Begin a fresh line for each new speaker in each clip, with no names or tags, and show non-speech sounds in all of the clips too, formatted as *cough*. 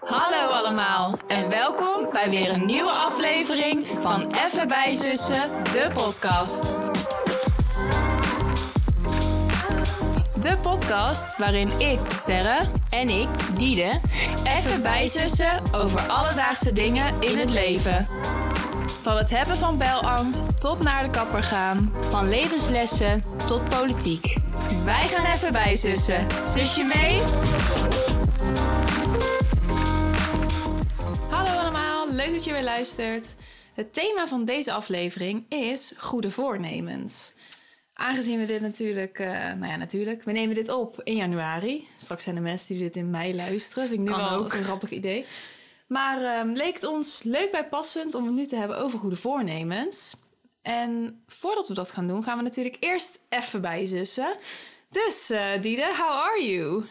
Hallo allemaal en welkom bij weer een nieuwe aflevering van Even bij Zussen, de podcast. De podcast waarin ik, Sterre, en ik, Diede, even bijzussen over alledaagse dingen in het leven. Van het hebben van belangst tot naar de kapper gaan, van levenslessen tot politiek. Wij gaan even bijzussen. Zus je mee? Hallo allemaal, leuk dat je weer luistert. Het thema van deze aflevering is goede voornemens. Aangezien we dit natuurlijk, eh, nou ja, natuurlijk, we nemen dit op in januari. Straks zijn er mensen die dit in mei luisteren. Vind ik nu
Kan
wel
ook.
een grappig idee. Maar ehm, leek het ons leuk bij passend om het nu te hebben over goede voornemens. En voordat we dat gaan doen, gaan we natuurlijk eerst even bijzussen. Dus eh Diede, how are you?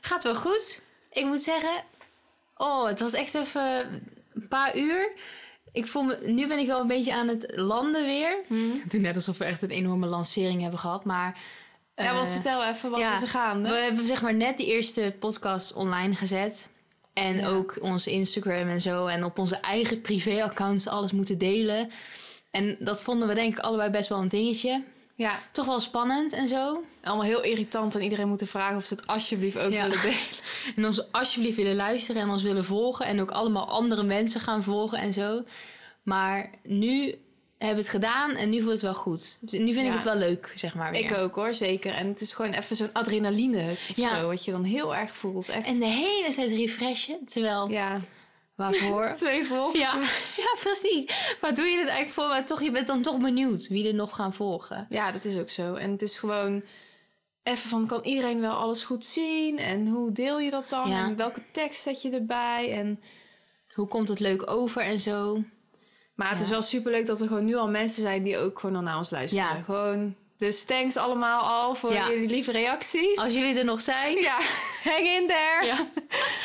Gaat wel goed. Ik moet zeggen, oh, het was echt even een paar uur. Ik voel me, nu ben ik wel een beetje aan het landen weer.
Mhm.
Het doet net alsof we echt een enorme lancering hebben gehad, maar...
ja,
eh,
want vertel even, wat
ja,
is er gaande?
We hebben zeg maar net die eerste podcast online gezet. En
Ja.
ook ons Instagram en zo. En op onze eigen privéaccounts alles moeten delen. En dat vonden we denk ik allebei best wel een dingetje.
Ja,
Toch wel spannend en zo.
allemaal heel irritant en iedereen moeten vragen of ze het alsjeblieft ook
Ja.
willen delen.
*laughs* En ons alsjeblieft willen luisteren en ons willen volgen. En ook allemaal andere mensen gaan volgen en zo. Maar nu hebben we het gedaan en nu voelt het wel goed. Dus Nu
Ja.
vind ik het wel leuk, zeg maar. Weer.
Ik ook hoor, zeker. En het is gewoon even zo'n adrenaline of
Ja.
zo, wat je dan heel erg voelt. Echt.
En de hele tijd refreshen. Terwijl,
ja, *laughs*
waarvoor?
twee volgen.
ja. *laughs* ja, precies. Maar doe je het eigenlijk voor? Maar toch, je bent dan toch benieuwd wie er nog gaan volgen.
Ja, dat is ook zo. En het is gewoon even van, kan iedereen wel alles goed zien? En hoe deel je dat dan?
Ja.
En welke tekst zet je erbij? En,
Hoe komt het leuk over en zo?
maar het is wel superleuk dat er gewoon nu al mensen zijn die ook gewoon al naar ons luisteren.
Ja.
Gewoon, dus thanks allemaal al voor
Ja.
jullie lieve reacties.
Als jullie er nog zijn.
*laughs* Ja, Oh. hang in there.
*laughs* Ja.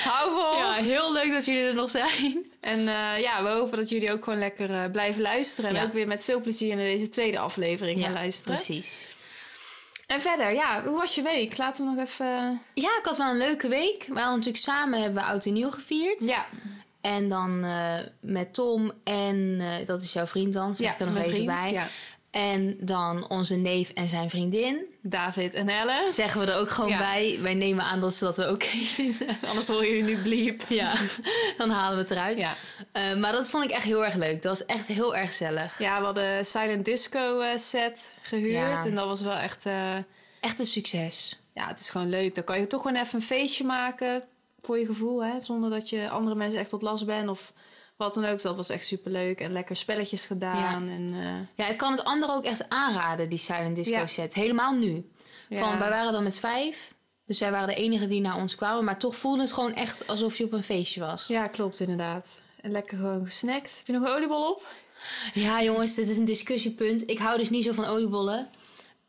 Hou vol.
Ja, heel leuk dat jullie er nog zijn.
En eh, ja, we hopen dat jullie ook gewoon lekker eh, blijven luisteren. En
Ja.
ook weer met veel plezier naar deze tweede aflevering gaan
Ja,
luisteren.
precies.
En verder, ja, hoe was je week? Laten we nog even... eh,
Ja, ik had wel een leuke week. We hadden natuurlijk samen hebben we oud en nieuw gevierd.
Ja,
En dan eh, met Tom en eh, dat is jouw vriend dan, zeg
ja
ik er nog
mijn
even
vriend,
bij.
ja.
En dan onze neef en zijn
*laughs*
vriendin.
David en Ellen. *laughs*
Zeggen we er ook gewoon
Ja.
bij. Wij nemen aan dat ze dat *laughs* wel oké vinden.
Anders horen jullie nu bliep.
Ja, *laughs* dan halen we het eruit.
Ja.
Eh, maar dat vond ik echt heel erg leuk. Dat was echt heel erg gezellig.
ja, we hadden Silent Disco eh, set gehuurd.
Ja.
En dat was wel echt... eh,
Echt een succes.
ja, het is gewoon leuk. Dan kan je toch gewoon even een feestje maken voor je gevoel, hè? Zonder dat je andere mensen echt tot last bent of wat dan ook. Dat was echt superleuk en lekker spelletjes gedaan. En, eh,
Ja, ik kan het anderen ook echt aanraden, die silent disco
Ja.
set. Helemaal nu.
ja.
Van, wij waren dan met vijf. Dus wij waren de enigen die naar ons kwamen. Maar toch voelde het gewoon echt alsof je op een feestje was.
Ja, klopt inderdaad. En lekker gewoon gesnackt. Heb je nog een oliebol op?
Ja, jongens, dit is een discussiepunt. Ik hou dus niet zo van oliebollen.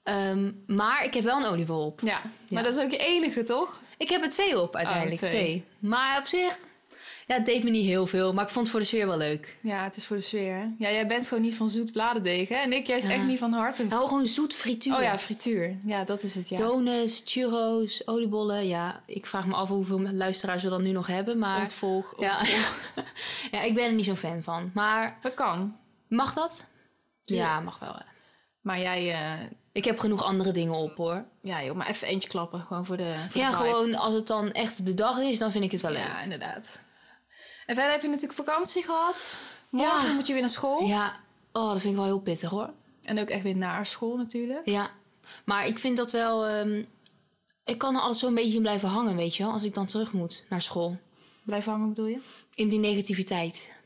Ehm, maar ik heb wel een oliebol op.
Ja, maar dat is ook je enige, toch?
Ik heb er twee op uiteindelijk.
Oh, twee.
twee. Maar op zich, ja, het deed me niet heel veel. Maar ik vond het voor de sfeer wel leuk.
Ja, het is voor de sfeer. hè? Ja, jij bent gewoon niet van zoet bladerdeeg, hè? En ik juist
Ja.
echt niet van hart. en-
Nou, gewoon zoet frituur.
Oh ja, frituur. Ja, dat is het, ja.
Donuts, churros, oliebollen. Ja, ik vraag me af hoeveel luisteraars we dan nu nog hebben. Maar
Ontvolg.
ja,
ontvolg.
*laughs* ja, ik ben er niet zo'n fan van. Maar
Dat kan.
mag dat?
Tuurlijk.
Ja, mag wel. hè.
Maar jij... eh,
Ik heb genoeg andere dingen op hoor.
ja joh, maar even eentje klappen. Gewoon voor de voor de
Ja,
vibe.
gewoon als het dan echt de dag is, dan vind ik het wel leuk.
Ja, inderdaad. En verder heb je natuurlijk vakantie gehad. Morgen
Ja.
moet je weer naar school.
Ja, oh, dat vind ik wel heel pittig hoor.
En ook echt weer naar school natuurlijk.
Ja, maar ik vind dat wel. ehm, ik kan er altijd zo'n beetje in blijven hangen, weet je wel, als ik dan terug moet naar school.
Blijf hangen bedoel je?
In die negativiteit.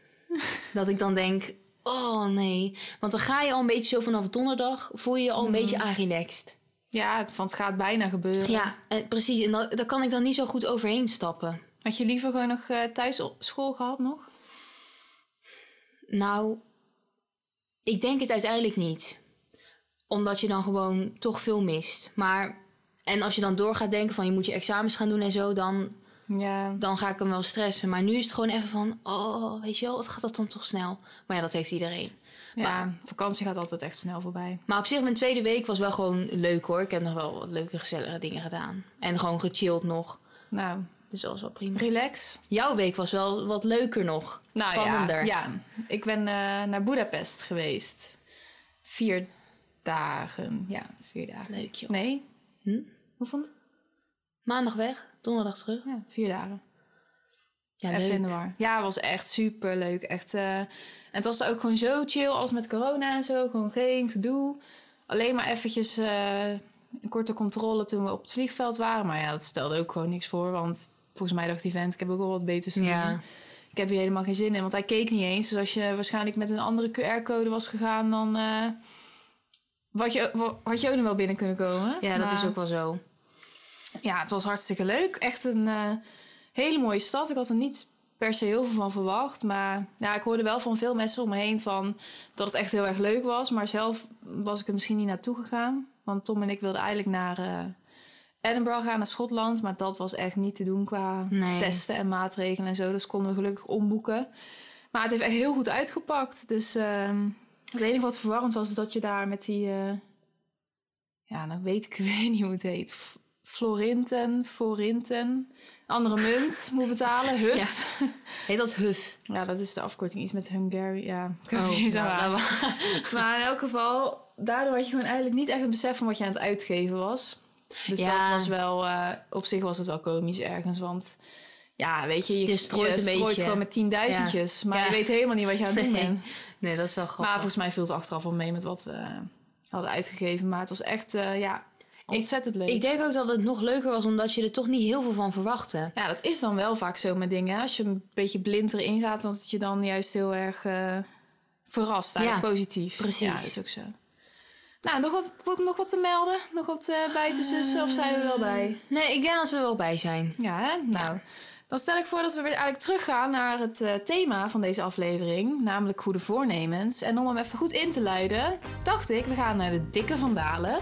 dat ik dan denk, oh nee. Want dan ga je al een beetje zo vanaf donderdag, voel je je al een beetje aanrelaxed.
Ja, want het gaat bijna gebeuren.
Ja, eh, precies. En dat, daar kan ik dan niet zo goed overheen stappen.
Had je liever gewoon nog eh, thuis op school gehad nog?
Nou, ik denk het uiteindelijk niet. Omdat je dan gewoon toch veel mist. Maar, en als je dan door gaat denken van je moet je examens gaan doen en zo, dan,
Ja.
dan ga ik hem wel stressen. Maar nu is het gewoon even van, oh, weet je wel, wat gaat dat dan toch snel? Maar ja, dat heeft iedereen.
ja, vakantie gaat altijd echt snel voorbij.
Maar op zich, mijn tweede week was wel gewoon leuk hoor. Ik heb nog wel wat leuke, gezellige dingen gedaan. En gewoon gechilled nog.
Nou,
Dus dat was wel prima.
Relax.
Jouw week was wel wat leuker nog.
Nou
Spannender.
Ja, ja. ik ben eh, naar Boedapest geweest. Vier dagen. Ja, vier dagen.
Leuk joh.
Nee?
Hm?
Hoeveel?
Maandag weg, donderdag terug.
Ja, vier dagen.
Ja,
Even in
leuk.
de war. Ja, het was echt super leuk. Echt, eh, en het was ook gewoon zo chill als met corona en zo. Gewoon geen gedoe. Alleen maar eventjes eh, een korte controle toen we op het vliegveld waren. Maar ja, dat stelde ook gewoon niks voor. Want volgens mij dacht die vent, ik heb ook wel wat beters te doen.
Ja.
Ik heb hier helemaal geen zin in, want hij keek niet eens. Dus als je waarschijnlijk met een andere QR-code was gegaan, dan eh, had, je, wa- had je ook nog wel binnen kunnen komen.
ja, dat
Maar-
is ook wel zo.
ja, het was hartstikke leuk. Echt een eh, hele mooie stad. Ik had er niet per se heel veel van verwacht. Maar ja, ik hoorde wel van veel mensen om me heen van dat het echt heel erg leuk was. Maar zelf was ik er misschien niet naartoe gegaan. Want Tom en ik wilden eigenlijk naar eh, Edinburgh gaan, naar Schotland. Maar dat was echt niet te doen qua
Nee.
testen en maatregelen en zo. Dus konden we gelukkig omboeken. Maar het heeft echt heel goed uitgepakt. Dus ehm, het enige wat verwarrend was, is dat je daar met die... eh, ja, dan weet ik *laughs* weer niet hoe het heet. F- Florinten, forinten, andere munt moet betalen. Huf.
*laughs* Ja.
Ja.
Heet dat huf?
dat is de afkorting. Iets met Hungary. Ja, ik
Oh,
weet niet zo
nou,
aan.
nou,
Maar in elk geval, daardoor had je gewoon eigenlijk niet echt het besef van wat je aan het uitgeven was. Dus
Ja.
dat was wel, eh, op zich was het wel komisch ergens. Want ja, weet je, je,
Je strooit een beetje.
gewoon met tienduizendjes. Maar
Ja.
je weet helemaal niet wat je aan het doen
Nee.
bent.
nee, dat is wel
Maar
grappig.
volgens mij viel het achteraf wel mee met wat we eh, hadden uitgegeven. Maar het was echt, eh, ja, ontzettend leuk.
ik denk ook dat het nog leuker was omdat je er toch niet heel veel van verwachtte.
Ja, dat is dan wel vaak zo met dingen. hè. Als je een beetje blind erin gaat, dan dat je dan juist heel erg eh, verrast, eigenlijk
Ja,
positief.
precies.
Ja, dat is ook zo. Nou, nog wat, wat- nog wat te melden? Nog wat eh, bij te zussen? of zijn we wel bij?
Nee, ik denk dat we er wel bij zijn.
Eh, Ja, hè? Nou, dan stel ik voor dat we weer eigenlijk teruggaan naar het eh, thema van deze aflevering. Namelijk goede voornemens. En om hem even goed in te luiden, dacht ik, we gaan naar de dikke vandalen.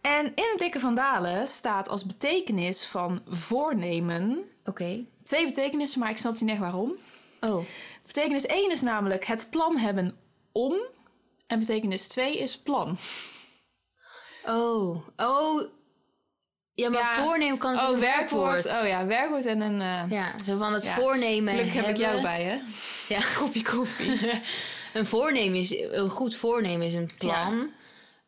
En in de dikke vandalen staat als betekenis van voornemen
Oké.
twee betekenissen, maar ik snap niet echt waarom.
Oh.
Betekenis 1 is namelijk het plan hebben om. En betekenis 2 is plan.
Oh. Oh. Ja, maar
Ja.
voornemen kan
Oh,
natuurlijk een
werkwoord. Oh ja, werkwoord en een... eh
Ja, zo van het
Ja.
voornemen
Gelukkig heb ik
hebben.
jou bij, hè?
Ja,
*laughs*
kopje koffie. *laughs* een voornemen is een goed voornemen is een plan.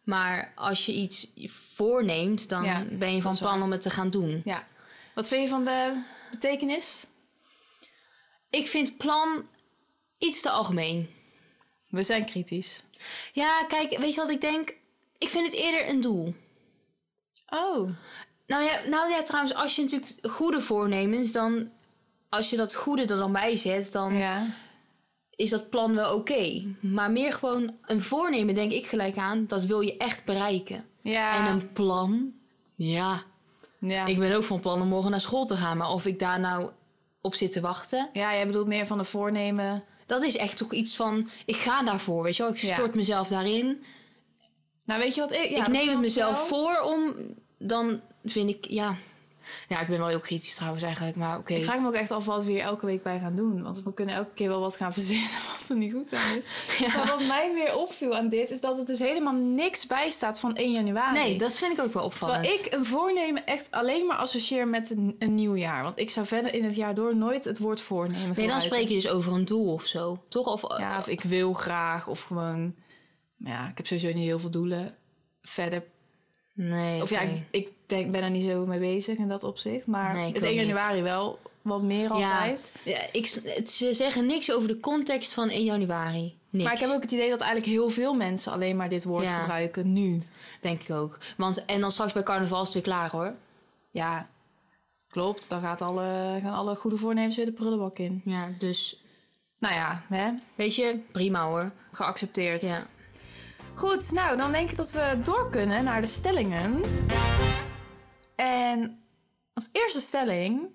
Maar als je iets voorneemt, dan
Ja,
ben je
dat
van
is waar.
plan om het te gaan doen.
Ja. Wat vind je van de betekenis?
Ik vind plan iets te algemeen.
We zijn kritisch.
Ja, kijk, weet je wat ik denk? Ik vind het eerder een doel.
Oh.
Nou ja, nou ja trouwens, als je natuurlijk goede voornemens, dan als je dat goede er dan bij zet, dan
Ja.
is dat plan wel oké. Maar meer gewoon een voornemen, denk ik gelijk aan, dat wil je echt bereiken.
Ja.
En een plan, ja,
ja.
Ik ben ook van plan om morgen naar school te gaan, maar of ik daar nou op zit te wachten,
ja, jij bedoelt meer van de voornemen.
dat is echt toch iets van, ik ga daarvoor, weet je wel. Ik
Ja.
stort mezelf daarin.
Nou, weet je wat ik... ja,
ik
dat
neem
snap
het mezelf
wel.
voor om, dan vind ik, ja... Ja, ik ben wel heel kritisch trouwens eigenlijk, maar oké.
Ik vraag me ook echt af wat we hier elke week bij gaan doen. Want we kunnen elke keer wel wat gaan verzinnen *laughs* wat er niet goed aan
*laughs*
is. Maar wat mij weer opviel aan dit is dat het dus helemaal niks bij staat van 1 januari.
Nee, dat vind ik ook wel opvallend.
Terwijl ik een voornemen echt alleen maar associeer met een, een nieuw jaar. Want ik zou verder in het jaar door nooit het woord voornemen
Nee, dan
gebruiken.
spreek je dus over een doel of zo, toch? Of, eh,
Ja, of ik wil graag of gewoon... maar Ja, ik heb sowieso niet heel veel doelen verder.
Nee,
Of ja,
oké.
ik, ik denk, ben er niet zo mee bezig in dat opzicht. Maar
Nee, ik
het
ook
1
niet.
januari wel wat meer altijd.
Ja, ik, ze zeggen niks over de context van 1 januari. Niks.
Maar ik heb ook het idee dat eigenlijk heel veel mensen alleen maar dit woord
Ja.
gebruiken nu.
Denk ik ook. Want, en dan straks bij carnaval is het weer klaar, hoor.
Ja, klopt. Dan gaat alle, gaan alle goede voornemens weer de prullenbak in.
Ja, dus
Nou ja, hè?
Weet je, prima hoor.
geaccepteerd.
Ja.
Goed, nou dan denk ik dat we door kunnen naar de stellingen. En als eerste stelling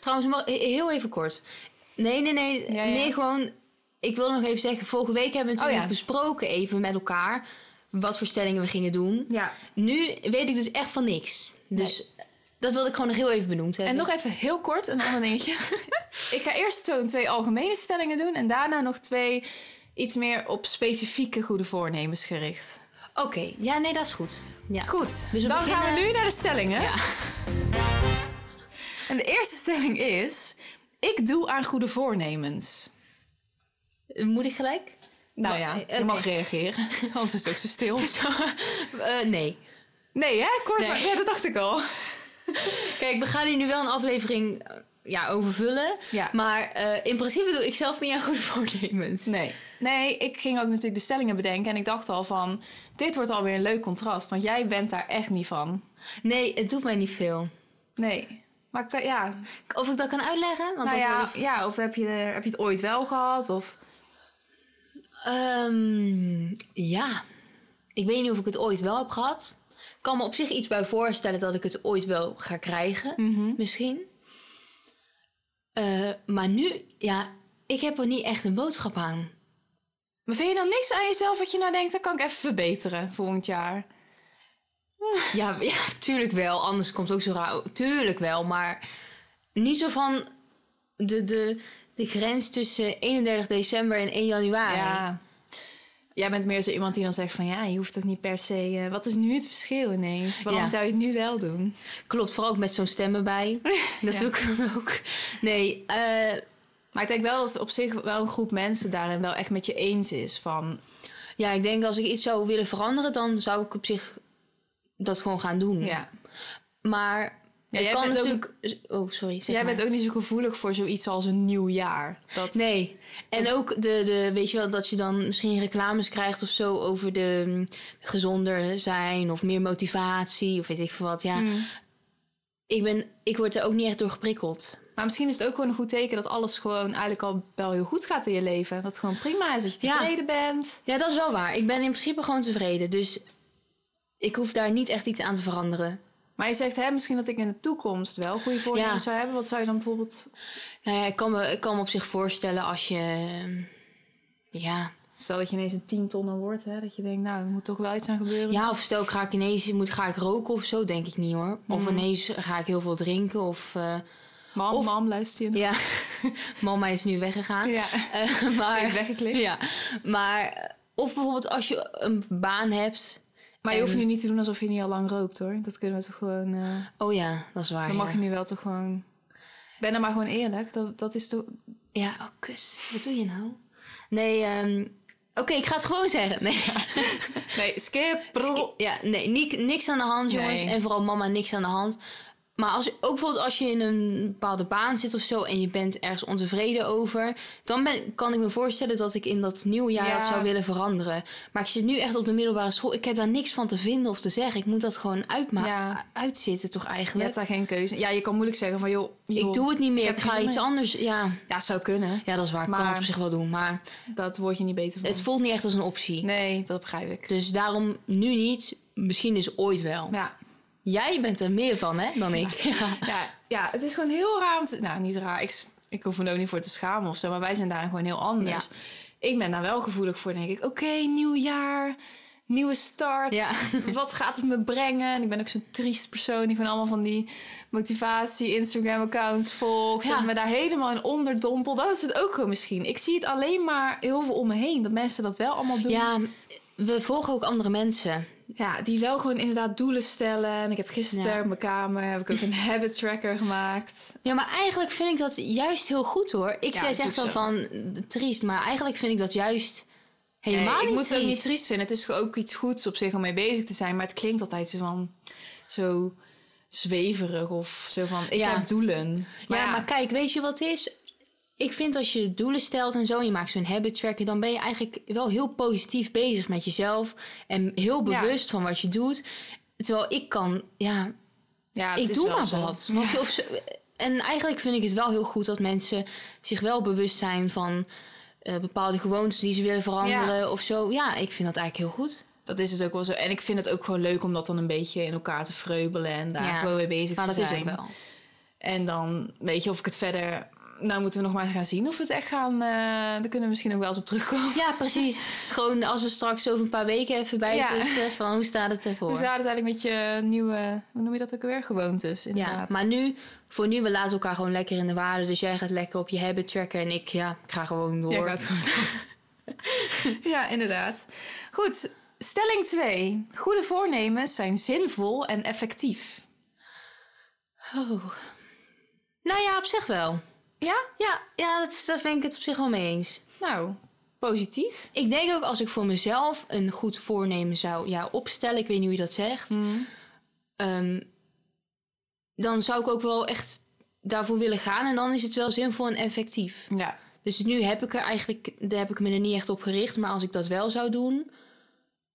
Trouwens, mag- he- heel even kort. Nee, nee, nee.
Ja, ja.
Nee, gewoon. Ik wil nog even zeggen, vorige week hebben we natuurlijk
ja.
besproken even met elkaar wat voor stellingen we gingen doen.
Ja.
Nu weet ik dus echt van niks. Dus dat wilde ik gewoon nog heel even benoemd hebben.
En nog even heel kort een ander
*laughs*
dingetje. ik ga eerst zo'n twee algemene stellingen doen en daarna nog twee iets meer op specifieke goede voornemens gericht.
Oké, ja, nee, dat is goed. Ja.
Goed,
Dus we
dan gaan we
beginnen-
nu naar de stellingen.
Ja.
En de eerste stelling is: ik doe aan goede voornemens.
Moet ik gelijk? *laughs*
Nou
Nou,
ja,
eh,
je mag
oké.
reageren. *laughs* Anders is het ook zo stil.
Eh, nee.
Nee, hè? Kort
Nee.
maar. Ja, dat dacht ik al.
Kijk, we gaan hier nu wel een aflevering eh, ja, overvullen.
Ja.
Maar eh, in principe doe ik zelf niet aan goede voornemens.
Nee. Nee, ik ging ook natuurlijk de stellingen bedenken. En ik dacht al van, dit wordt alweer een leuk contrast. Want jij bent daar echt niet van.
Nee, het doet mij niet veel.
Nee. Maar ik weet- ja,
Of ik dat kan uitleggen? Want
nou
dat wil
ja,
ik-
ja, of heb je, heb je het ooit wel gehad? Of...
Ehm, ja. Ik weet niet of ik het ooit wel heb gehad. Ik kan me op zich iets bij voorstellen dat ik het ooit wel ga krijgen.
Mhm.
Misschien. Eh, maar nu, ja, ik heb er niet echt een boodschap aan.
Maar vind je dan niks aan jezelf wat je nou denkt, dat kan ik even verbeteren volgend jaar?
Ja, *laughs* ja, tuurlijk wel. Anders komt het ook zo raar. Tuurlijk wel, maar niet zo van de, de, de grens tussen 31 december en 1 januari.
Ja. Jij bent meer zo iemand die dan zegt van, ja, je hoeft ook niet per se... eh, wat is nu het verschil ineens? Waarom
Ja.
zou je het nu wel doen?
Klopt, vooral ook met zo'n stemmen
*laughs*
bij. Dat
Ja.
doe ik dan ook. Nee, eh,
Maar ik denk wel dat op zich wel een groep mensen daarin wel echt met je eens is. Van,
ja, ik denk als ik iets zou willen veranderen, dan zou ik op zich dat gewoon gaan doen.
ja.
Maar
Ja,
het
jij
kan
bent ook-
natuurlijk... Oh, sorry. Zeg
Jij
maar.
bent ook niet zo gevoelig voor zoiets als een nieuw jaar. Dat...
Nee. En ook de, de, weet je wel, dat je dan misschien reclames krijgt of zo over de mm, gezonder zijn of meer motivatie of weet ik veel wat. Ja,
Mm.
ik, ben, ik word er ook niet echt door geprikkeld.
Maar misschien is het ook gewoon een goed teken dat alles gewoon eigenlijk al wel heel goed gaat in je leven. Dat het gewoon prima is, dat je
Ja.
tevreden bent.
Ja, dat is wel waar. Ik ben in principe gewoon tevreden. Dus ik hoef daar niet echt iets aan te veranderen.
Maar je zegt, hè, misschien dat ik in de toekomst wel goede voornemens
Ja.
zou hebben. Wat zou je dan bijvoorbeeld...
Nou ja, ik kan me, ik kan me op zich voorstellen als je. mm, Ja.
Stel dat je ineens een tientonner wordt, hè. Dat je denkt, nou, er moet toch wel iets aan gebeuren.
ja, of stel ik ga ik ineens moet, ga ik roken of zo, denk ik niet hoor. Of
Hmm.
ineens ga ik heel veel drinken of. eh,
Mam,
Of-
mam, luister je nog?
ja, *laughs* mama is nu weggegaan.
Ja. Ah,
Eh,
Even
maar,
weggeklikt.
ja, maar of bijvoorbeeld als je een baan hebt.
Maar je
En-
hoeft nu niet te doen alsof je niet al lang rookt, hoor. Dat kunnen we toch gewoon... eh,
Oh ja, dat is waar.
Dan mag
ja.
je nu wel toch gewoon... Ben dan maar gewoon eerlijk. Dat, dat is toch...
Ja, oh kus, wat doe je nou? Nee, ehm, oké, ik ga het gewoon zeggen. Nee,
Nee, skip.
Ski- ja, nee ni- niks aan de hand, jongens.
Nee.
En vooral mama, niks aan de hand. Maar als, ook bijvoorbeeld als je in een bepaalde baan zit of zo en je bent ergens ontevreden over, dan ben, kan ik me voorstellen dat ik in dat nieuwe jaar
Ja.
dat zou willen veranderen. Maar ik zit nu echt op de middelbare school. Ik heb daar niks van te vinden of te zeggen. Ik moet dat gewoon uitmaken.
Ja.
Uitzitten toch
Je
eigenlijk?
hebt daar geen keuze. Ja, je kan moeilijk zeggen van joh, joh,
ik doe het niet meer.
ik heb
Ik, ga
geen zin
iets
meer.
anders. Ja.
Ja, zou kunnen.
ja, dat is waar. Ik kan
Maar-
het op zich wel doen. Maar
Dat word je niet beter van.
het voelt niet echt als een optie.
Nee, dat begrijp ik.
Dus daarom nu niet. Misschien is ooit wel.
Ja.
Jij bent er meer van, hè, dan ik. Ja.
Ja, ja, het is gewoon heel raar. Om te- nou, niet raar. Ik, s- ik hoef me er ook niet voor te schamen of zo. Maar wij zijn daarin gewoon heel anders. Ik ben daar wel gevoelig voor. denk ik, oké, nieuw jaar. Nieuwe start.
Ja.
*laughs* Wat gaat het me brengen? En ik ben ook zo'n triest persoon. Ik ben allemaal van die motivatie, Instagram-accounts volgt.
Ja.
En me daar helemaal in onderdompel. Dat is het ook gewoon misschien. Ik zie het alleen maar heel veel om me heen. Dat mensen dat wel allemaal doen.
Ja, we volgen ook andere mensen.
Ja, die wel gewoon inderdaad doelen stellen. En ik heb gisteren
Ja.
op mijn kamer heb ik ook een *laughs* habit tracker gemaakt.
Ja, maar eigenlijk vind ik dat juist heel goed hoor. Ik
Ja,
jij
is
zeg
ook
dan
zo.
van eh, triest, maar eigenlijk vind ik dat juist helemaal
Nee,
niet
Eh, ik moet het
triest.
ook niet triest vinden. Het is ook iets goeds op zich om mee bezig te zijn. Maar het klinkt altijd zo van zo zweverig of zo van ik
Ja.
heb doelen.
Ja, maar kijk, weet je wat het is? Ik vind als je doelen stelt en zo, en je maakt zo'n habit tracker, dan ben je eigenlijk wel heel positief bezig met jezelf en heel
Ja.
bewust van wat je doet. Terwijl ik kan, ja,
ja, het
ik
is
doe
wel
maar
zo. *laughs*
wat. Snap je? Of ze- en eigenlijk vind ik het wel heel goed dat mensen zich wel bewust zijn van eh, bepaalde gewoontes die ze willen veranderen of zo. Ja, ik vind dat eigenlijk heel goed.
Dat is het ook wel zo. En ik vind het ook gewoon leuk om dat dan een beetje in elkaar te vreubelen en daar
Ja.
gewoon mee bezig
Maar
te
dat
zijn.
is ook wel.
En dan weet je of ik het verder. Nou moeten we nog maar gaan zien of we het echt gaan. eh daar kunnen we misschien ook wel eens op terugkomen.
Ja, precies. Gewoon als we straks over een paar weken even bij
Ja.
zijn, van hoe staat het ervoor?
Hoe staat Dus het eigenlijk met je nieuwe, hoe noem je dat ook weer? Gewoontes,
ja,
inderdaad.
maar nu, voor nu, we laten elkaar gewoon lekker in de waarde. Dus jij gaat lekker op je habit tracken en ik, ja, ik ga gewoon door.
Jij gaat gewoon door. *laughs* ja, inderdaad. Goed, stelling 2. Goede voornemens zijn zinvol en effectief.
Oh. Nou ja, op zich wel.
Ja?
Ja, ja dat, is- daar ben ik het op zich wel mee eens.
Nou, positief.
Ik denk ook als ik voor mezelf een goed voornemen zou ja, opstellen, ik weet niet hoe je dat zegt,
Hm. Mm,
ehm, dan zou ik ook wel echt daarvoor willen gaan. En dan is het wel zinvol en effectief.
Ja.
Dus nu heb ik er eigenlijk, daar heb ik me er niet echt op gericht. Maar als ik dat wel zou doen,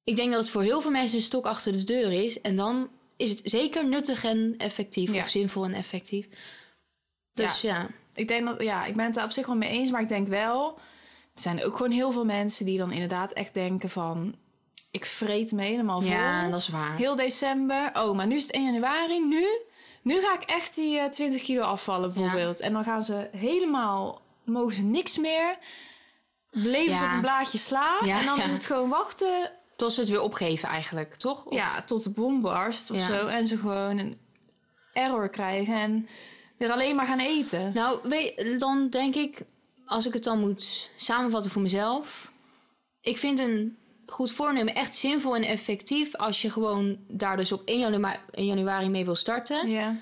ik denk dat het voor heel veel mensen een stok achter de deur is. En dan is het zeker nuttig en effectief.
Ja.
Of zinvol en effectief. Dus ja.
Ik denk dat, ja, ik ben het daar op zich wel mee eens, maar ik denk wel, er zijn ook gewoon heel veel mensen die dan inderdaad echt denken van, ik vreet me helemaal
Ja,
vol.
dat is waar.
Heel december. Oh, maar nu is het 1 januari. Nu, nu ga ik echt die eh, 20 kilo afvallen bijvoorbeeld. En dan gaan ze helemaal, mogen ze niks meer. Leven ze
Ja.
op een blaadje sla.
Ja,
en dan
ja. *laughs*
is het gewoon wachten
Tot ze het weer opgeven eigenlijk, toch? Of-
ja, tot de bom barst of
Ja.
zo. En ze gewoon een error krijgen en weer alleen maar gaan eten.
Nou, weet, dan denk ik, als ik het dan moet samenvatten voor mezelf. Ik vind een goed voornemen echt zinvol en effectief als je gewoon daar dus op 1 januari, 1 januari mee wil starten.
Ja.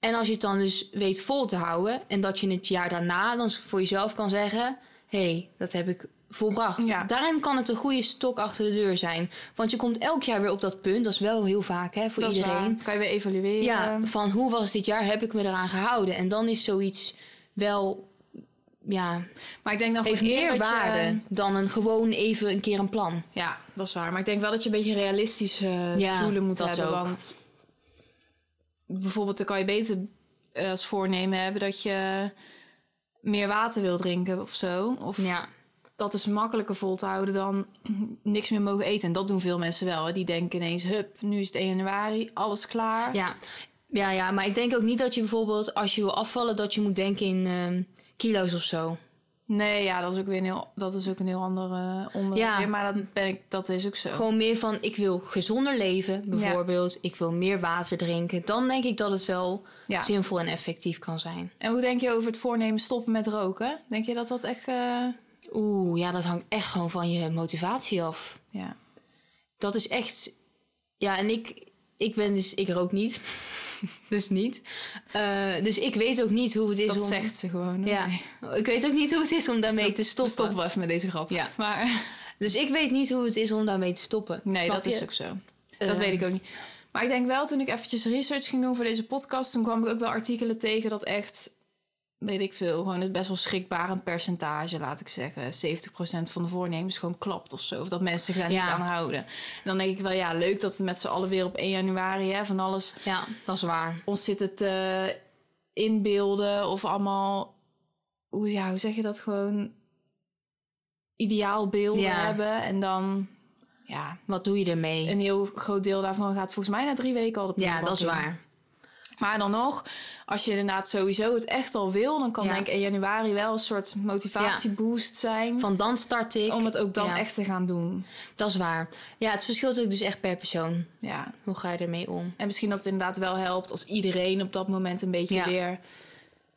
En als je het dan dus weet vol te houden en dat je het jaar daarna dan voor jezelf kan zeggen: hé, hey, dat heb ik volbracht.
Ja.
Daarin kan het een goede stok achter de deur zijn. Want je komt elk jaar weer op dat punt, dat is wel heel vaak hè, voor
dat is waar.
iedereen.
Dat Kan je weer evalueren.
Ja, van hoe was dit jaar? Heb ik me eraan gehouden? En dan is zoiets wel, ja,
Maar ik denk dan
heeft
gewoon
meer
dat je-
waarde dan een gewoon even een keer een plan.
ja, dat is waar. Maar ik denk wel dat je een beetje realistische eh,
Ja,
doelen moet
dat
hebben.
ook.
Want bijvoorbeeld dan kan je beter eh, als voornemen hebben dat je meer water wil drinken of zo. Of
Ja,
dat is makkelijker vol te houden dan *clears throat* niks meer mogen eten. En dat doen veel mensen wel. Hè. Die denken ineens, hup, nu is het 1 januari, alles klaar.
ja. Ja, ja, maar ik denk ook niet dat je bijvoorbeeld als je wil afvallen, dat je moet denken in ehm, kilo's of zo.
Nee, ja, dat is ook weer een heel, dat is ook een heel ander eh, onderwerp.
Ja.
weer, Maar dat, ben ik, dat is ook zo.
Gewoon meer van, ik wil gezonder leven, bijvoorbeeld. Ik wil meer water drinken. Dan denk ik dat het wel
Ja.
zinvol en effectief kan zijn.
En hoe denk je over het voornemen stoppen met roken? Denk je dat dat echt... eh,
Oeh, ja, dat hangt echt gewoon van je motivatie af.
ja.
Dat is echt... Ja, en ik, ik ben dus... Ik rook
*laughs*
niet. dus niet. Eh, dus ik weet ook niet hoe het is
Dat
om...
zegt ze gewoon. hè?
Ja, ik weet ook niet hoe het is om daarmee te stoppen.
Stoppen we even met deze grap.
Ja.
Maar *laughs*
Dus ik weet niet hoe het is om daarmee te stoppen.
nee,
Snap
dat
je?
is ook zo. Dat
Eh,
weet ik ook niet. Maar ik denk wel, toen ik eventjes research ging doen voor deze podcast... toen kwam ik ook wel artikelen tegen dat echt... weet ik veel, gewoon het best wel schrikbarend percentage, laat ik zeggen. 70% van de voornemens gewoon klapt of zo. Of dat mensen zich daar
Ja.
niet aan houden. En dan denk ik wel, ja, leuk dat we met z'n allen weer op 1 januari... Hè, van alles
Ja, dat is waar.
ons zit het eh, inbeelden of allemaal, hoe, ja, hoe zeg je dat gewoon, ideaalbeelden
Ja.
hebben. En dan, ja,
Wat doe je ermee?
een heel groot deel daarvan gaat volgens mij na drie weken al de
Ja,
prullenbak
dat is
in.
waar.
Maar dan nog, als je inderdaad sowieso het echt al wil, dan kan
Ja.
denk ik in januari wel een soort motivatieboost zijn.
Van dan start ik.
om het ook dan
Ja,
echt te gaan doen.
Dat is waar. Ja, het verschilt ook dus echt per persoon.
Ja.
Hoe ga je ermee om?
En misschien dat het inderdaad wel helpt als iedereen op dat moment een beetje
Ja.
weer...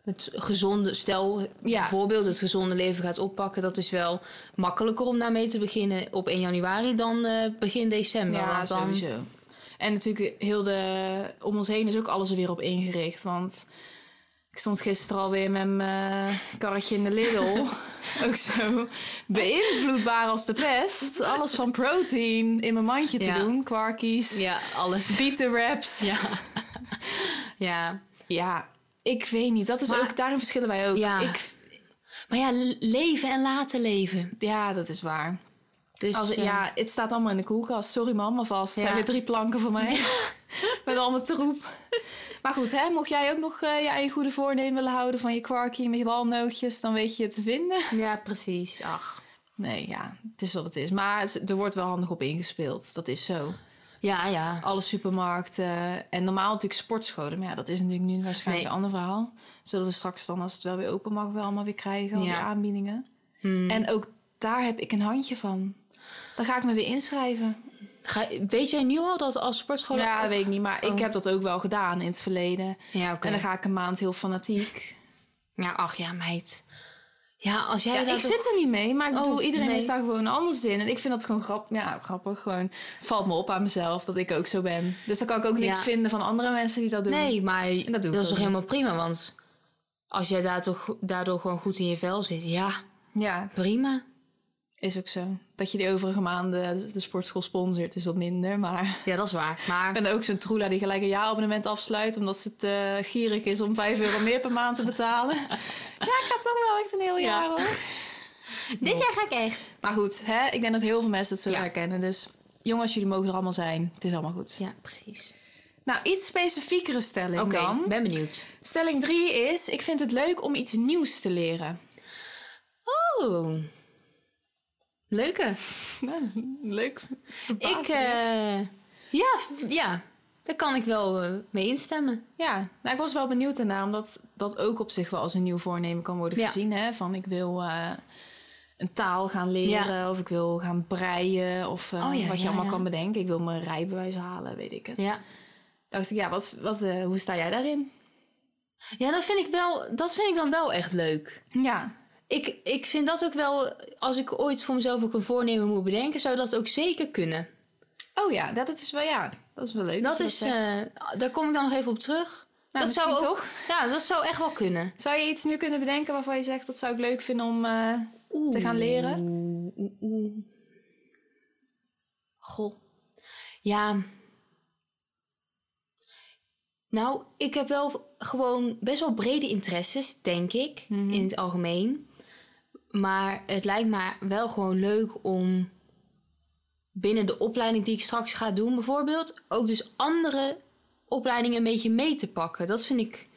Het gezonde, stel bijvoorbeeld het gezonde leven gaat oppakken, dat is wel makkelijker om daarmee te beginnen op 1 januari dan eh, begin december.
Ja,
want dan,
sowieso. En natuurlijk, heel de, om ons heen is ook alles er weer op ingericht. Want ik stond gisteren alweer met mijn eh, karretje in de
*laughs*
Lidl. ook zo beïnvloedbaar als de pest. Alles van protein in mijn mandje te
Ja.
doen. Kwarkies,
Ja, alles. *laughs*
bieten wraps.
Ja. ja.
Ja, ik weet niet. Dat is
Maar-
ook, daarin verschillen wij ook.
Ja.
Ik,
Maar ja, le- leven en laten leven.
ja, dat is waar.
Dus
Als,
eh,
ja, het staat allemaal in de koelkast. Sorry mam, maar vast.
Ja.
zijn weer drie planken voor mij. *laughs* Met allemaal troep. Maar goed, hè, mocht jij ook nog eh, je eigen goede voornemen willen houden... van je kwarkie met je walnootjes, dan weet je het te vinden. *laughs*
ja, precies. Ach.
Nee, ja, het is wat het is. Maar het- er wordt wel handig op ingespeeld. Dat is zo.
Ja, ja.
Alle supermarkten en normaal natuurlijk sportscholen. Maar ja, dat is natuurlijk nu waarschijnlijk
Nee.
een ander verhaal. Zullen we straks dan, als het wel weer open mag, wel allemaal weer krijgen. Al die
Ja.
aanbiedingen.
Hmm.
En ook daar heb ik een handje van. Dan ga ik me weer inschrijven.
Ga, weet jij nu al dat als sportschool...
Ja, dat weet ik niet. Maar ik
Oh.
heb dat ook wel gedaan in het verleden.
Ja, oké.
En dan ga ik een maand heel fanatiek.
Ja, ach ja, meid. Ja, als jij
Ja,
daar
ik
toch-
zit er niet mee, maar ik
Oh,
bedoel, iedereen
nee.
is daar gewoon anders in. En ik vind dat gewoon grap, ja, grappig. Gewoon, het valt me op aan mezelf dat ik ook zo ben. Dus dan kan ik ook niks
Ja.
vinden van andere mensen die dat doen.
Nee, maar
dat doe ik
dat is
ook
toch
niet.
helemaal prima, want Als jij daardoor, go- daardoor gewoon goed in je vel zit, ja,
Ja,
prima.
is ook zo. Dat je die overige maanden de sportschool sponsort is wat minder. Maar *laughs*
Ja, dat is waar. Maar
ik ben ook zo'n troela die gelijk een jaarabonnement afsluit... omdat ze het eh, gierig is om 5 euro meer per maand te betalen. *laughs* ja, ik ga toch wel echt een heel
Ja.
jaar hoor.
dit jaar ga ik echt.
Maar goed, hè? ik denk dat heel veel mensen het zullen
Ja.
herkennen. Dus jongens, jullie mogen er allemaal zijn. Het is allemaal goed.
Ja, precies.
Nou, iets specifiekere stelling
Oké,
dan.
ben benieuwd.
Stelling 3 is: ik vind het leuk om iets nieuws te *laughs* leren.
Oh, leuke.
leuk.
Ik, eh, ja, v- ja, daar kan ik wel eh, mee instemmen.
Ja, nou, ik was wel benieuwd daarna, omdat dat ook op zich wel als een nieuw voornemen kan worden
Ja.
gezien. Hè? Van ik wil eh, een taal gaan leren, of ik wil gaan breien, of eh,
Oh ja,
wat je
ja,
allemaal
ja.
kan bedenken. Ik wil mijn rijbewijs halen, weet ik het.
Ja.
Dacht ik, ja, wat, wat, eh, hoe sta jij daarin?
Ja, dat vind ik, wel, dat vind ik dan wel echt leuk.
Ja,
Ik, ik vind dat ook wel, als ik ooit voor mezelf ook een voornemen moet bedenken, zou dat ook zeker kunnen.
Oh ja, dat, dat is wel ja. Dat is wel leuk.
Dat
je
is,
zegt.
eh, daar kom ik dan nog even op terug.
nou,
dat zou
misschien
ook-
toch?
Ja, dat zou echt wel kunnen.
Zou je iets nu kunnen bedenken waarvan je zegt dat zou ik leuk vinden om eh, te gaan leren?
Oeh, oeh, oeh. Goh. Ja. Nou, ik heb wel gewoon best wel brede interesses, denk ik,
Mhm.
in het algemeen. Maar het lijkt me wel gewoon leuk om binnen de opleiding die ik straks ga doen, bijvoorbeeld, ook dus andere opleidingen een beetje mee te pakken. Dat vind ik,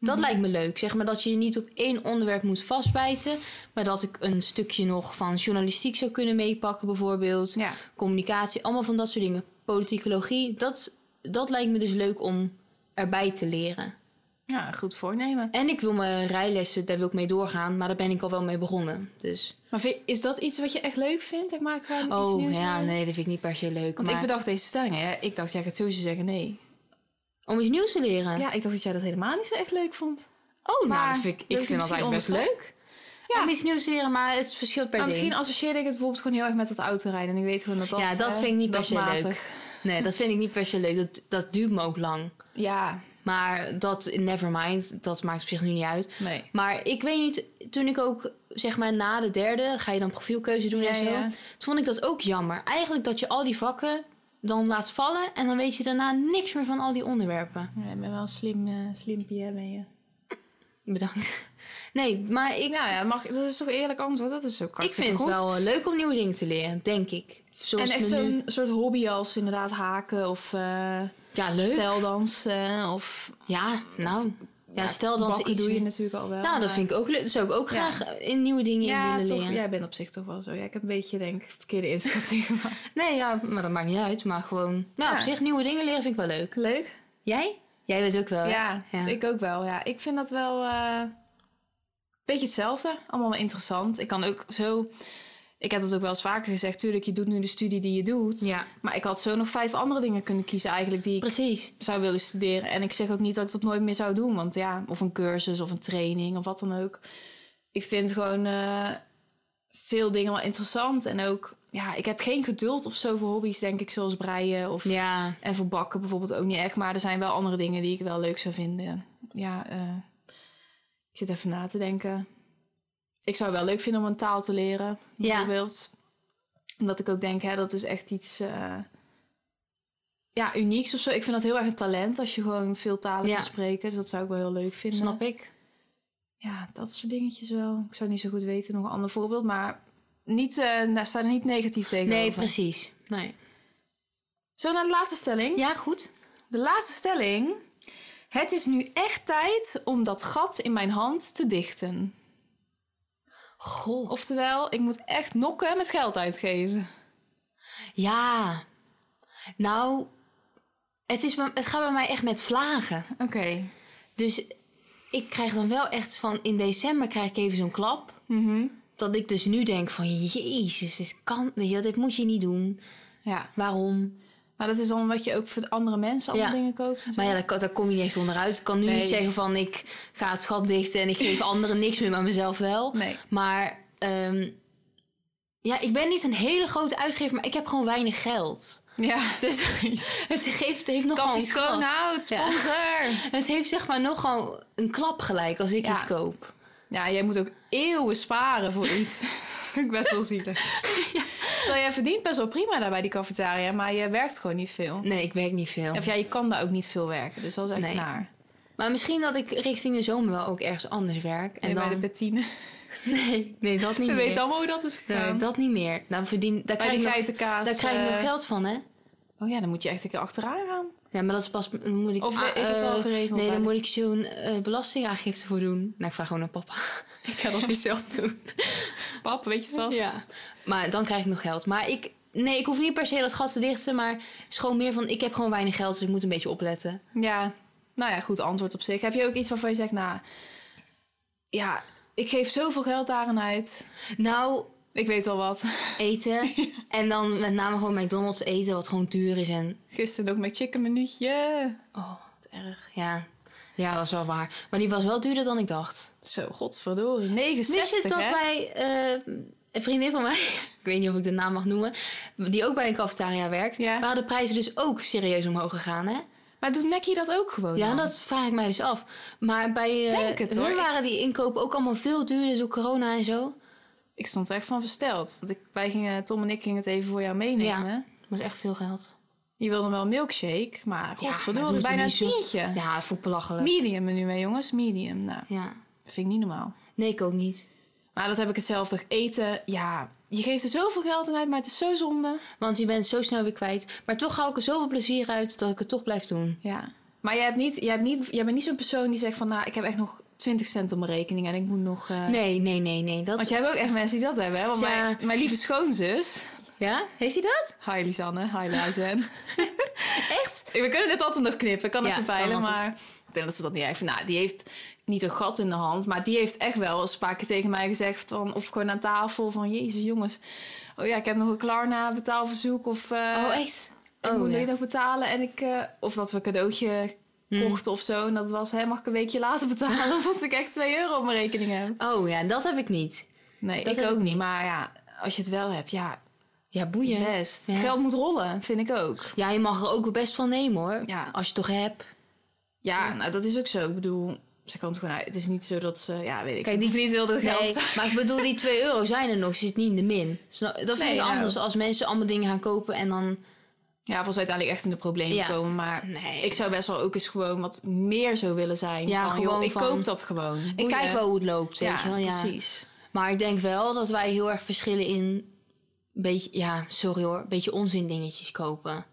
dat lijkt me leuk. Zeg maar dat je je niet op één onderwerp moet vastbijten, maar dat ik een stukje nog van journalistiek zou kunnen meepakken, bijvoorbeeld
Ja.
communicatie, allemaal van dat soort dingen. Politicologie, dat, dat lijkt me dus leuk om erbij te leren.
ja, goed voornemen.
En ik wil mijn rijlessen, daar wil ik mee doorgaan, maar daar ben ik al wel mee begonnen. Dus.
Maar vind- is dat iets wat je echt leuk vindt? Ik maak gewoon iets
Oh
nieuws.
ja,
leren?
nee, dat vind ik niet per se leuk.
Want ik
maar-
bedacht deze stellingen. Ja, ik dacht, jij gaat sowieso zeggen nee.
Om iets nieuws te leren.
Ja, ik dacht dat jij dat helemaal niet zo echt leuk vond.
Oh, nou,
Maar
dat vind ik,
dat
ik
is
vind dat
misschien
eigenlijk best
onderschat.
leuk.
Ja.
Om iets nieuws te leren, maar het verschilt per
Maar
ding.
Nou, misschien associeerde ik het bijvoorbeeld gewoon heel erg met dat autorijden. En ik weet gewoon dat dat...
ja, dat
eh,
vind ik niet per se
dagmatig-
leuk. Nee, dat vind ik niet per se leuk. Dat, dat duurt me ook lang.
Ja,
Maar dat, nevermind, dat maakt op zich nu niet uit.
nee.
Maar ik weet niet, toen ik ook, zeg maar na de derde, ga je dan profielkeuze doen
Ja,
en zo.
ja.
Toen vond ik dat ook jammer. Eigenlijk dat je al die vakken dan laat vallen en dan weet je daarna niks meer van al die onderwerpen.
Ja, je bent wel een slim, eh slimpie, hè, ben je.
Bedankt. *laughs* Nee, maar ik,
Nou ja, mag, dat is toch eerlijk antwoord? Dat is zo
ik vind het wel eh, leuk om nieuwe dingen te leren, denk ik. Zoals
en echt
het me nu-
zo'n soort hobby als inderdaad haken of eh
Ja, leuk.
steldansen. eh, Of,
Ja, nou. Ja, stel dan ze
bakken
iets
doe je
meer-
natuurlijk al wel.
Nou, dat vind ik ook leuk. Dat zou ik ook
eh, Ja.
graag eh, in nieuwe dingen in
ja,
willen
toch,
leren.
jij bent op zich toch wel zo. Ja, ik heb een beetje, denk ik, verkeerde *laughs* inschatting gemaakt.
Nee, ja, maar dat maakt niet uit. Maar gewoon, nou,
Ja.
op zich nieuwe dingen leren vind ik wel leuk.
Leuk?
Jij? Jij bent ook wel.
Ja,
hè?
ik ook wel. Ja, ik vind dat wel eh, een beetje hetzelfde. Allemaal wel interessant. Ik kan ook zo... Ik heb dat ook wel eens vaker gezegd. Tuurlijk, je doet nu de studie die je doet.
Ja.
Maar ik had zo nog vijf andere dingen kunnen kiezen eigenlijk... die ik
Precies.
zou willen studeren. En ik zeg ook niet dat ik dat nooit meer zou doen. Want ja, of een cursus of een training of wat dan ook. Ik vind gewoon eh, veel dingen wel interessant. En ook, ja, ik heb geen geduld of zo voor hobby's, denk ik, zoals breien. Of,
Ja.
En voor bakken bijvoorbeeld ook niet echt. Maar er zijn wel andere dingen die ik wel leuk zou vinden. Ja, eh, ik zit even na te denken. Ik zou wel leuk vinden om een taal te leren, bijvoorbeeld. Omdat ik ook denk, hè, dat is echt iets... eh, ja, unieks of zo. Ik vind dat heel erg een talent als je gewoon veel talen
Ja.
kan spreken. Dus dat zou ik wel heel leuk vinden.
snap ik.
Ja, dat soort dingetjes wel. Ik zou niet zo goed weten, nog een ander voorbeeld. Maar niet, eh nou, sta er niet negatief tegenover.
Nee, precies. Nee.
Zo naar de laatste stelling.
Ja, goed.
De laatste stelling. Het is nu echt tijd om dat gat in mijn hand te dichten.
Goh.
Oftewel, ik moet echt nokken met geld uitgeven.
Ja. Nou, het, is, bij- het gaat bij mij echt met vlagen.
Oké.
Dus ik krijg dan wel echt van, in december krijg ik even zo'n klap.
Mhm.
Dat ik dus nu denk van, jezus, dit kan, weet je, wel, dit moet je niet doen.
Ja,
Waarom?
maar dat is dan wat je ook voor andere mensen allemaal
Ja.
dingen koopt. en zo.
Maar ja, daar, kan- daar kom je niet echt onderuit. Ik kan nu
Nee.
niet zeggen van, ik ga het gat dichten en ik
*laughs*
geef anderen niks meer, maar mezelf wel.
Nee.
Maar ehm, ja, ik ben niet een hele grote uitgever, maar ik heb gewoon weinig geld. *laughs*
Ja.
Dus het geeft, heeft nog
Koffie
gewoon een klap.
Schoonhout,
Ja.
sponsor. Ja.
Het heeft zeg maar nog gewoon een klap gelijk als ik
Ja.
iets koop.
jij moet ook eeuwen sparen
*laughs*
voor iets. dat is ook best wel zielig. Terwijl jij verdient best wel prima daar bij die cafetaria, maar je werkt gewoon niet veel.
Nee, ik werk niet veel.
Of ja, je kan daar ook niet veel werken, dus dat is echt
Nee.
naar.
Maar misschien dat ik richting de zomer wel ook ergens anders werk. En
En bij
dan...
de Bettine.
nee, nee, dat niet
*laughs* We
meer.
weten allemaal hoe dat is gegaan.
Nee, dat niet meer. Dan verdien, daar,
bij
krijg
die
ik nog,
geitenkaas.
daar krijg ik nog
eh,
geld van, hè?
Oh ja, dan moet je echt een keer achteraan gaan.
Ja, maar dat is pas... Dan moet ik,
Of
ah,
is het
eh,
al geregeld?
Nee, dan
eigenlijk?
moet ik zo'n eh, belastingaangifte voor doen. Nou, ik vraag gewoon aan papa. *laughs* ik ga dat niet zelf doen.
Pap, weet je vast.
Ja. Maar dan krijg ik nog geld. Maar ik... Nee, ik hoef niet per se dat gat te dichten, maar het is gewoon meer van... Ik heb gewoon weinig geld, dus ik moet een beetje opletten.
Ja, nou ja, goed antwoord op zich. Heb je ook iets waarvan je zegt, nou... Ja, ik geef zoveel geld daaraan uit.
Nou,
Ik weet wel wat. *laughs*
eten. en dan met name gewoon McDonald's eten, wat gewoon duur is en...
Gisteren ook met chicken minuutje.
Oh, wat erg. Ja. ja, dat is wel waar. Maar die was wel duurder dan ik dacht.
Zo, godverdorie.
Wist
69,
je dat
hè?
wij, eh, een vriendin van mij, *laughs* ik weet niet of ik de naam mag noemen, die ook bij een cafetaria werkt,
Ja.
waren de prijzen dus ook serieus omhoog gegaan, hè?
Maar doet Mackie dat ook gewoon
ja,
Oh, dan?
dat vraag ik mij dus af. Maar bij eh
Denk het, hoor.
hun waren die inkopen ook allemaal veel duurder door corona en zo.
Ik stond er echt van versteld. Want ik, wij gingen, Tom en ik gingen het even voor jou meenemen.
Dat was echt veel geld.
Je wilde wel een milkshake, maar
maar
godverdorie,
doe het
bijna een
niet zo.
tientje.
Ja, dat vond ik belachelijk.
Medium menu, hè jongens? Medium, nou,
Ja.
dat vind ik niet normaal.
Nee, ik ook niet.
Maar dat heb ik hetzelfde. Eten, ja, je geeft er zoveel geld aan uit, maar het is zo zonde.
Want je bent zo snel weer kwijt. Maar toch haal ik er zoveel plezier uit dat ik het toch blijf doen.
Ja. Maar jij, hebt niet, jij, hebt niet, jij bent niet zo'n persoon die zegt van... nou, ik heb echt nog 20 cent op mijn rekening en ik moet nog... eh,
Nee, nee, nee, nee. Dat...
Want jij hebt ook echt mensen die dat hebben, hè? Want
Ja.
mijn, mijn lieve schoonzus...
Ja? Heeft hij dat?
Hi Lisanne, hi Lizen.
Echt?
We kunnen dit altijd nog knippen, ik kan
Ja,
even
kan
peilen,
altijd.
maar... Ik denk dat ze dat niet heeft. Nou, die heeft niet een gat in de hand, maar die heeft echt wel eens een paar keer tegen mij gezegd... Van, of gewoon aan tafel van, jezus jongens... oh ja, ik heb nog een Klarna betaalverzoek of... eh,
oh, echt?
ik moet
ja.
dit nog betalen en ik... eh, of dat we een cadeautje
Hmm.
kochten of zo. En dat was, hè, mag ik een weekje later betalen? *laughs* want ik echt 2 euro op mijn rekening heb.
Oh ja, dat heb ik niet.
Nee,
Dat
ik
heb
ook
ik
niet.
niet.
Maar ja, als je het wel hebt, ja,
Ja, boeien.
best.
Ja.
Geld moet rollen, vind ik ook.
Ja, je mag er ook best van nemen hoor.
Ja.
Als je het toch hebt.
Ja, nou, dat is ook zo. Ik bedoel, ze kan het gewoon uit. Het is niet zo dat ze, ja, weet ik.
Kijk, die-
hoeft niet heel dat geld.
Nee, maar ik bedoel, die 2 euro zijn er nog. Ze zit niet in de min. Snap- Dat vind
Nee,
ik
nou.
anders als mensen allemaal dingen gaan kopen en dan...
Ja, of als ze uiteindelijk echt in de problemen
Ja.
komen. Maar
Nee.
ik zou best wel ook eens gewoon wat meer zo willen zijn.
Ja,
van,
gewoon
joh, ik
van-
koop dat gewoon.
Ik
Boeien.
kijk wel hoe het loopt, weet
Ja,
je wel. Ja.
precies.
Maar ik denk wel dat wij heel erg verschillen in... Beetje, ja, sorry hoor. Beetje onzin dingetjes kopen.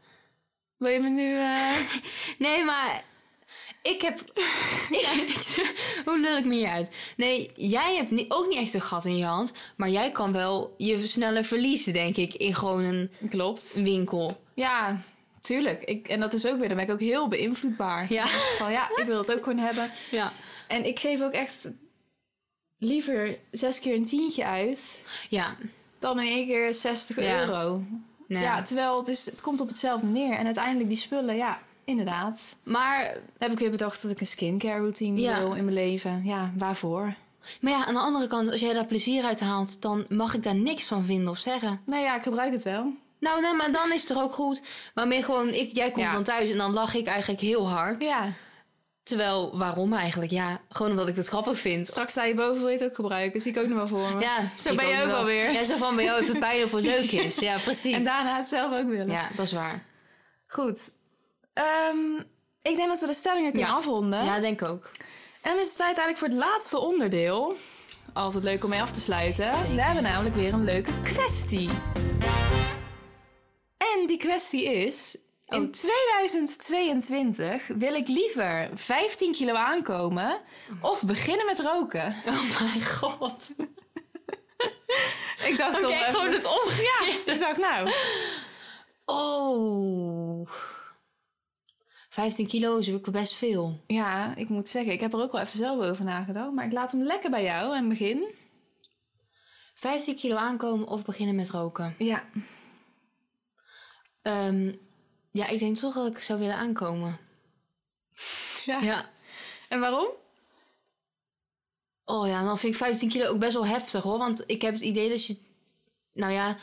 Wil je me nu... eh, *laughs*
Nee, maar ik heb. *laughs* Hoe lul ik me hier uit? Nee, jij hebt ni- ook niet echt een gat in je hand. Maar jij kan wel je sneller verliezen, denk ik, in gewoon een
Klopt.
winkel.
Ja, tuurlijk. Ik, en dat is ook weer, dan ben ik ook heel beïnvloedbaar.
Ja.
*laughs* Van ja, ik wil het ook gewoon hebben.
Ja,
En ik geef ook echt liever zes keer een tientje uit
ja.
dan in één keer 60
Ja.
euro.
nee.
Ja, terwijl het, is, het komt op hetzelfde neer. En uiteindelijk die spullen, ja, inderdaad.
Maar,
Dan heb ik weer bedacht dat ik een skincare routine
Ja.
wil in mijn leven. Ja, waarvoor?
maar ja, aan de andere kant, als jij daar plezier uit haalt, dan mag ik daar niks van vinden of zeggen.
Nou ja, ik gebruik het wel.
Nou, nee, maar dan is het er ook goed. Maar meer gewoon, ik, jij komt
Ja.
dan thuis en dan lach ik eigenlijk heel hard.
Ja,
Terwijl, waarom eigenlijk? Ja, gewoon omdat ik dat grappig vind.
straks sta je boven, wil je het ook gebruiken. Zie ik ook nog maar voor me.
Ja,
zo ben je ook alweer.
Ja, zo van bij jou even pijn of het
*laughs*
leuk is. Ja, precies.
En daarna het zelf ook willen.
ja, dat is waar.
Goed. Ehm, ik denk dat we de stellingen kunnen
Ja.
afronden.
Ja, denk ik ook.
En dan is het tijd eigenlijk voor het laatste onderdeel. Altijd leuk om mee af te sluiten.
Zeker.
We hebben namelijk weer een leuke kwestie. En die kwestie is... In
Oh.
2022 wil ik liever 15 kilo aankomen of beginnen met roken. *laughs*
Oh mijn god.
Ik dacht
Oké,
dan even-
gewoon het
*laughs*
omgekeerde.
Ik dacht nou,
Oh. 15 kilo is ook best veel.
ja, ik moet zeggen, ik heb er ook wel even zelf over nagedacht. Maar ik laat hem lekker bij jou en begin.
15 kilo aankomen of beginnen met roken?
Ja,
Ehm, ja, ik denk toch dat ik zou willen aankomen.
*laughs* Ja.
ja.
En waarom?
Oh ja, dan vind ik 15 kilo ook best wel heftig hoor. Want ik heb het idee dat je. Nou ja.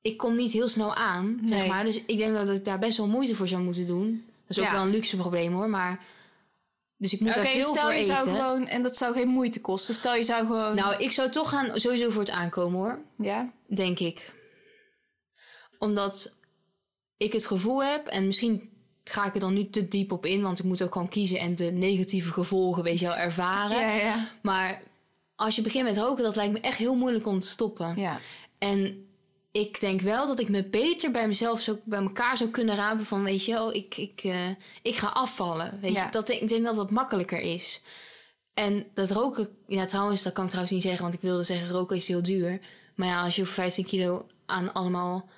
ik kom niet heel snel aan, zeg
Nee.
maar. Dus ik denk dat ik daar best wel moeite voor zou moeten doen. Dat is ook
Ja.
wel een luxe probleem hoor, maar... Dus ik moet
Oké,
daar veel
stel
voor
je
eten.
zou gewoon... En dat zou geen moeite kosten. Stel je zou gewoon...
Nou, ik zou toch gaan sowieso voor het aankomen hoor.
ja.
Denk ik. Omdat ik het gevoel heb, en misschien ga ik er dan nu te diep op in, want ik moet ook gewoon kiezen en de negatieve gevolgen, weet je wel, ervaren.
Ja, ja.
Maar als je begint met roken, dat lijkt me echt heel moeilijk om te stoppen.
Ja.
En ik denk wel dat ik me beter bij mezelf zo, bij elkaar zou kunnen rapen van, weet je wel, ik, ik, eh, ik ga afvallen. Weet
Ja.
je? Dat, denk- ik denk dat dat makkelijker is. En dat roken, ja trouwens, dat kan ik trouwens niet zeggen, want ik wilde zeggen roken is heel duur. Maar ja, als je voor 15 kilo aan allemaal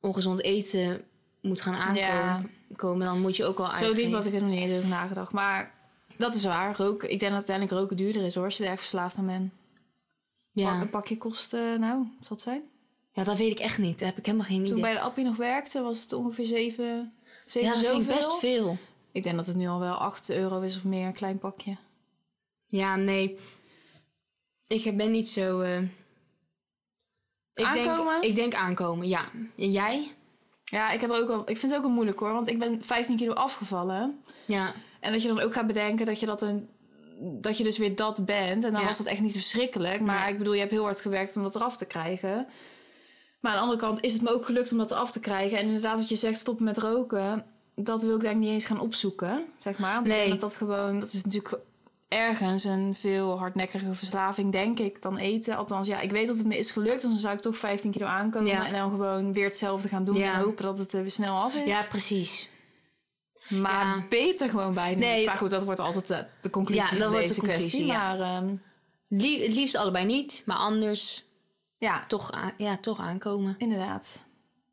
ongezond eten moet gaan
Ja.
aankomen, komen, dan moet je ook wel
Zo
uitgeven.
diep had ik er nog niet eens over nagedacht. Maar dat is waar. Roken, ik denk dat uiteindelijk roken duurder is hoor. Als je er echt verslaafd aan bent. Pak-
ja.
Een pakje kost, eh, nou, wat zal het zijn?
ja, dat weet ik echt niet. Daar heb ik helemaal geen
Toen ik
idee.
bij de appie nog werkte, was het ongeveer 7, 7
Ja, dat
zoveel.
vind ik best veel.
Ik denk dat het nu al wel 8 euro is of meer, een klein pakje.
Ja, nee. Ik ben niet zo. eh, Ik
Aankomen?
Denk, ik denk aankomen, ja. En jij?
Ja, ik, heb er ook al, ik vind het ook wel moeilijk hoor, want ik ben 15 kilo afgevallen.
Ja.
En dat je dan ook gaat bedenken dat je dat een... Dat je dus weer dat bent. En dan
Ja.
was dat echt niet verschrikkelijk. Maar
Nee.
ik bedoel, je hebt heel hard gewerkt om dat eraf te krijgen. Maar aan de andere kant is het me ook gelukt om dat eraf te krijgen. En inderdaad, wat je zegt, stoppen met roken. Dat wil ik denk ik niet eens gaan opzoeken, zeg maar. Want ik
Nee.
denk dat dat gewoon... Dat is natuurlijk ergens een veel hardnekkige verslaving, denk ik, dan eten. Althans, ja, ik weet dat het me is gelukt. Dus dan zou ik toch 15 kilo aankomen.
Ja.
En dan gewoon weer hetzelfde gaan doen.
Ja.
En hopen dat het er weer snel af is.
ja, precies.
Maar
Ja.
beter gewoon bij. Nee.
Nee.
Maar goed, dat wordt altijd eh, de conclusie
Ja,
van
dat wordt
deze
de conclusie,
kwestie.
ja.
Maar ehm,
Lie- het liefst allebei niet, maar anders
ja,
toch, aan- ja, toch aankomen.
inderdaad.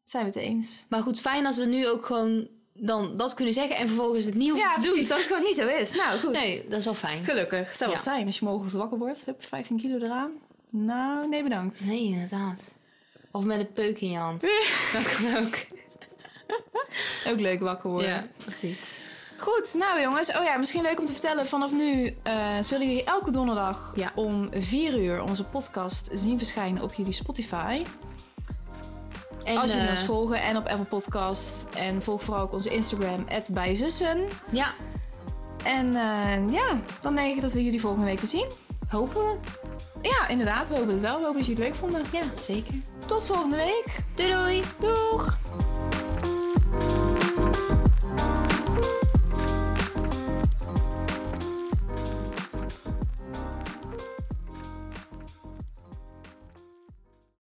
Zijn we het eens?
Maar goed, fijn als we nu ook gewoon dan dat kunnen zeggen en vervolgens het niet hoeven
Ja,
te
precies.
doen.
Dat het gewoon niet zo is. Nou, goed.
Nee, dat is wel fijn.
Gelukkig. Zou het
Ja.
zijn als je morgen wakker wordt. Hup, 15 kilo eraan. Nou, nee bedankt.
Nee, inderdaad. Of met een peuk in je hand. dat kan ook.
Ook leuk wakker worden.
Ja, precies.
Goed, nou jongens. Oh ja, misschien leuk om te vertellen. Vanaf nu eh, zullen jullie elke donderdag
Ja.
om 4 uur onze podcast zien verschijnen op jullie Spotify.
En,
als nou jullie
eh,
ons volgen en op Apple Podcast. En volg vooral ook onze Instagram, bijzussen.
Ja,
En eh, ja, dan denk ik dat we jullie volgende week weer zien.
hopen we.
Ja, inderdaad. We hopen het wel. We hopen dat jullie het leuk vonden.
Ja, zeker.
Tot volgende week.
Doei doei!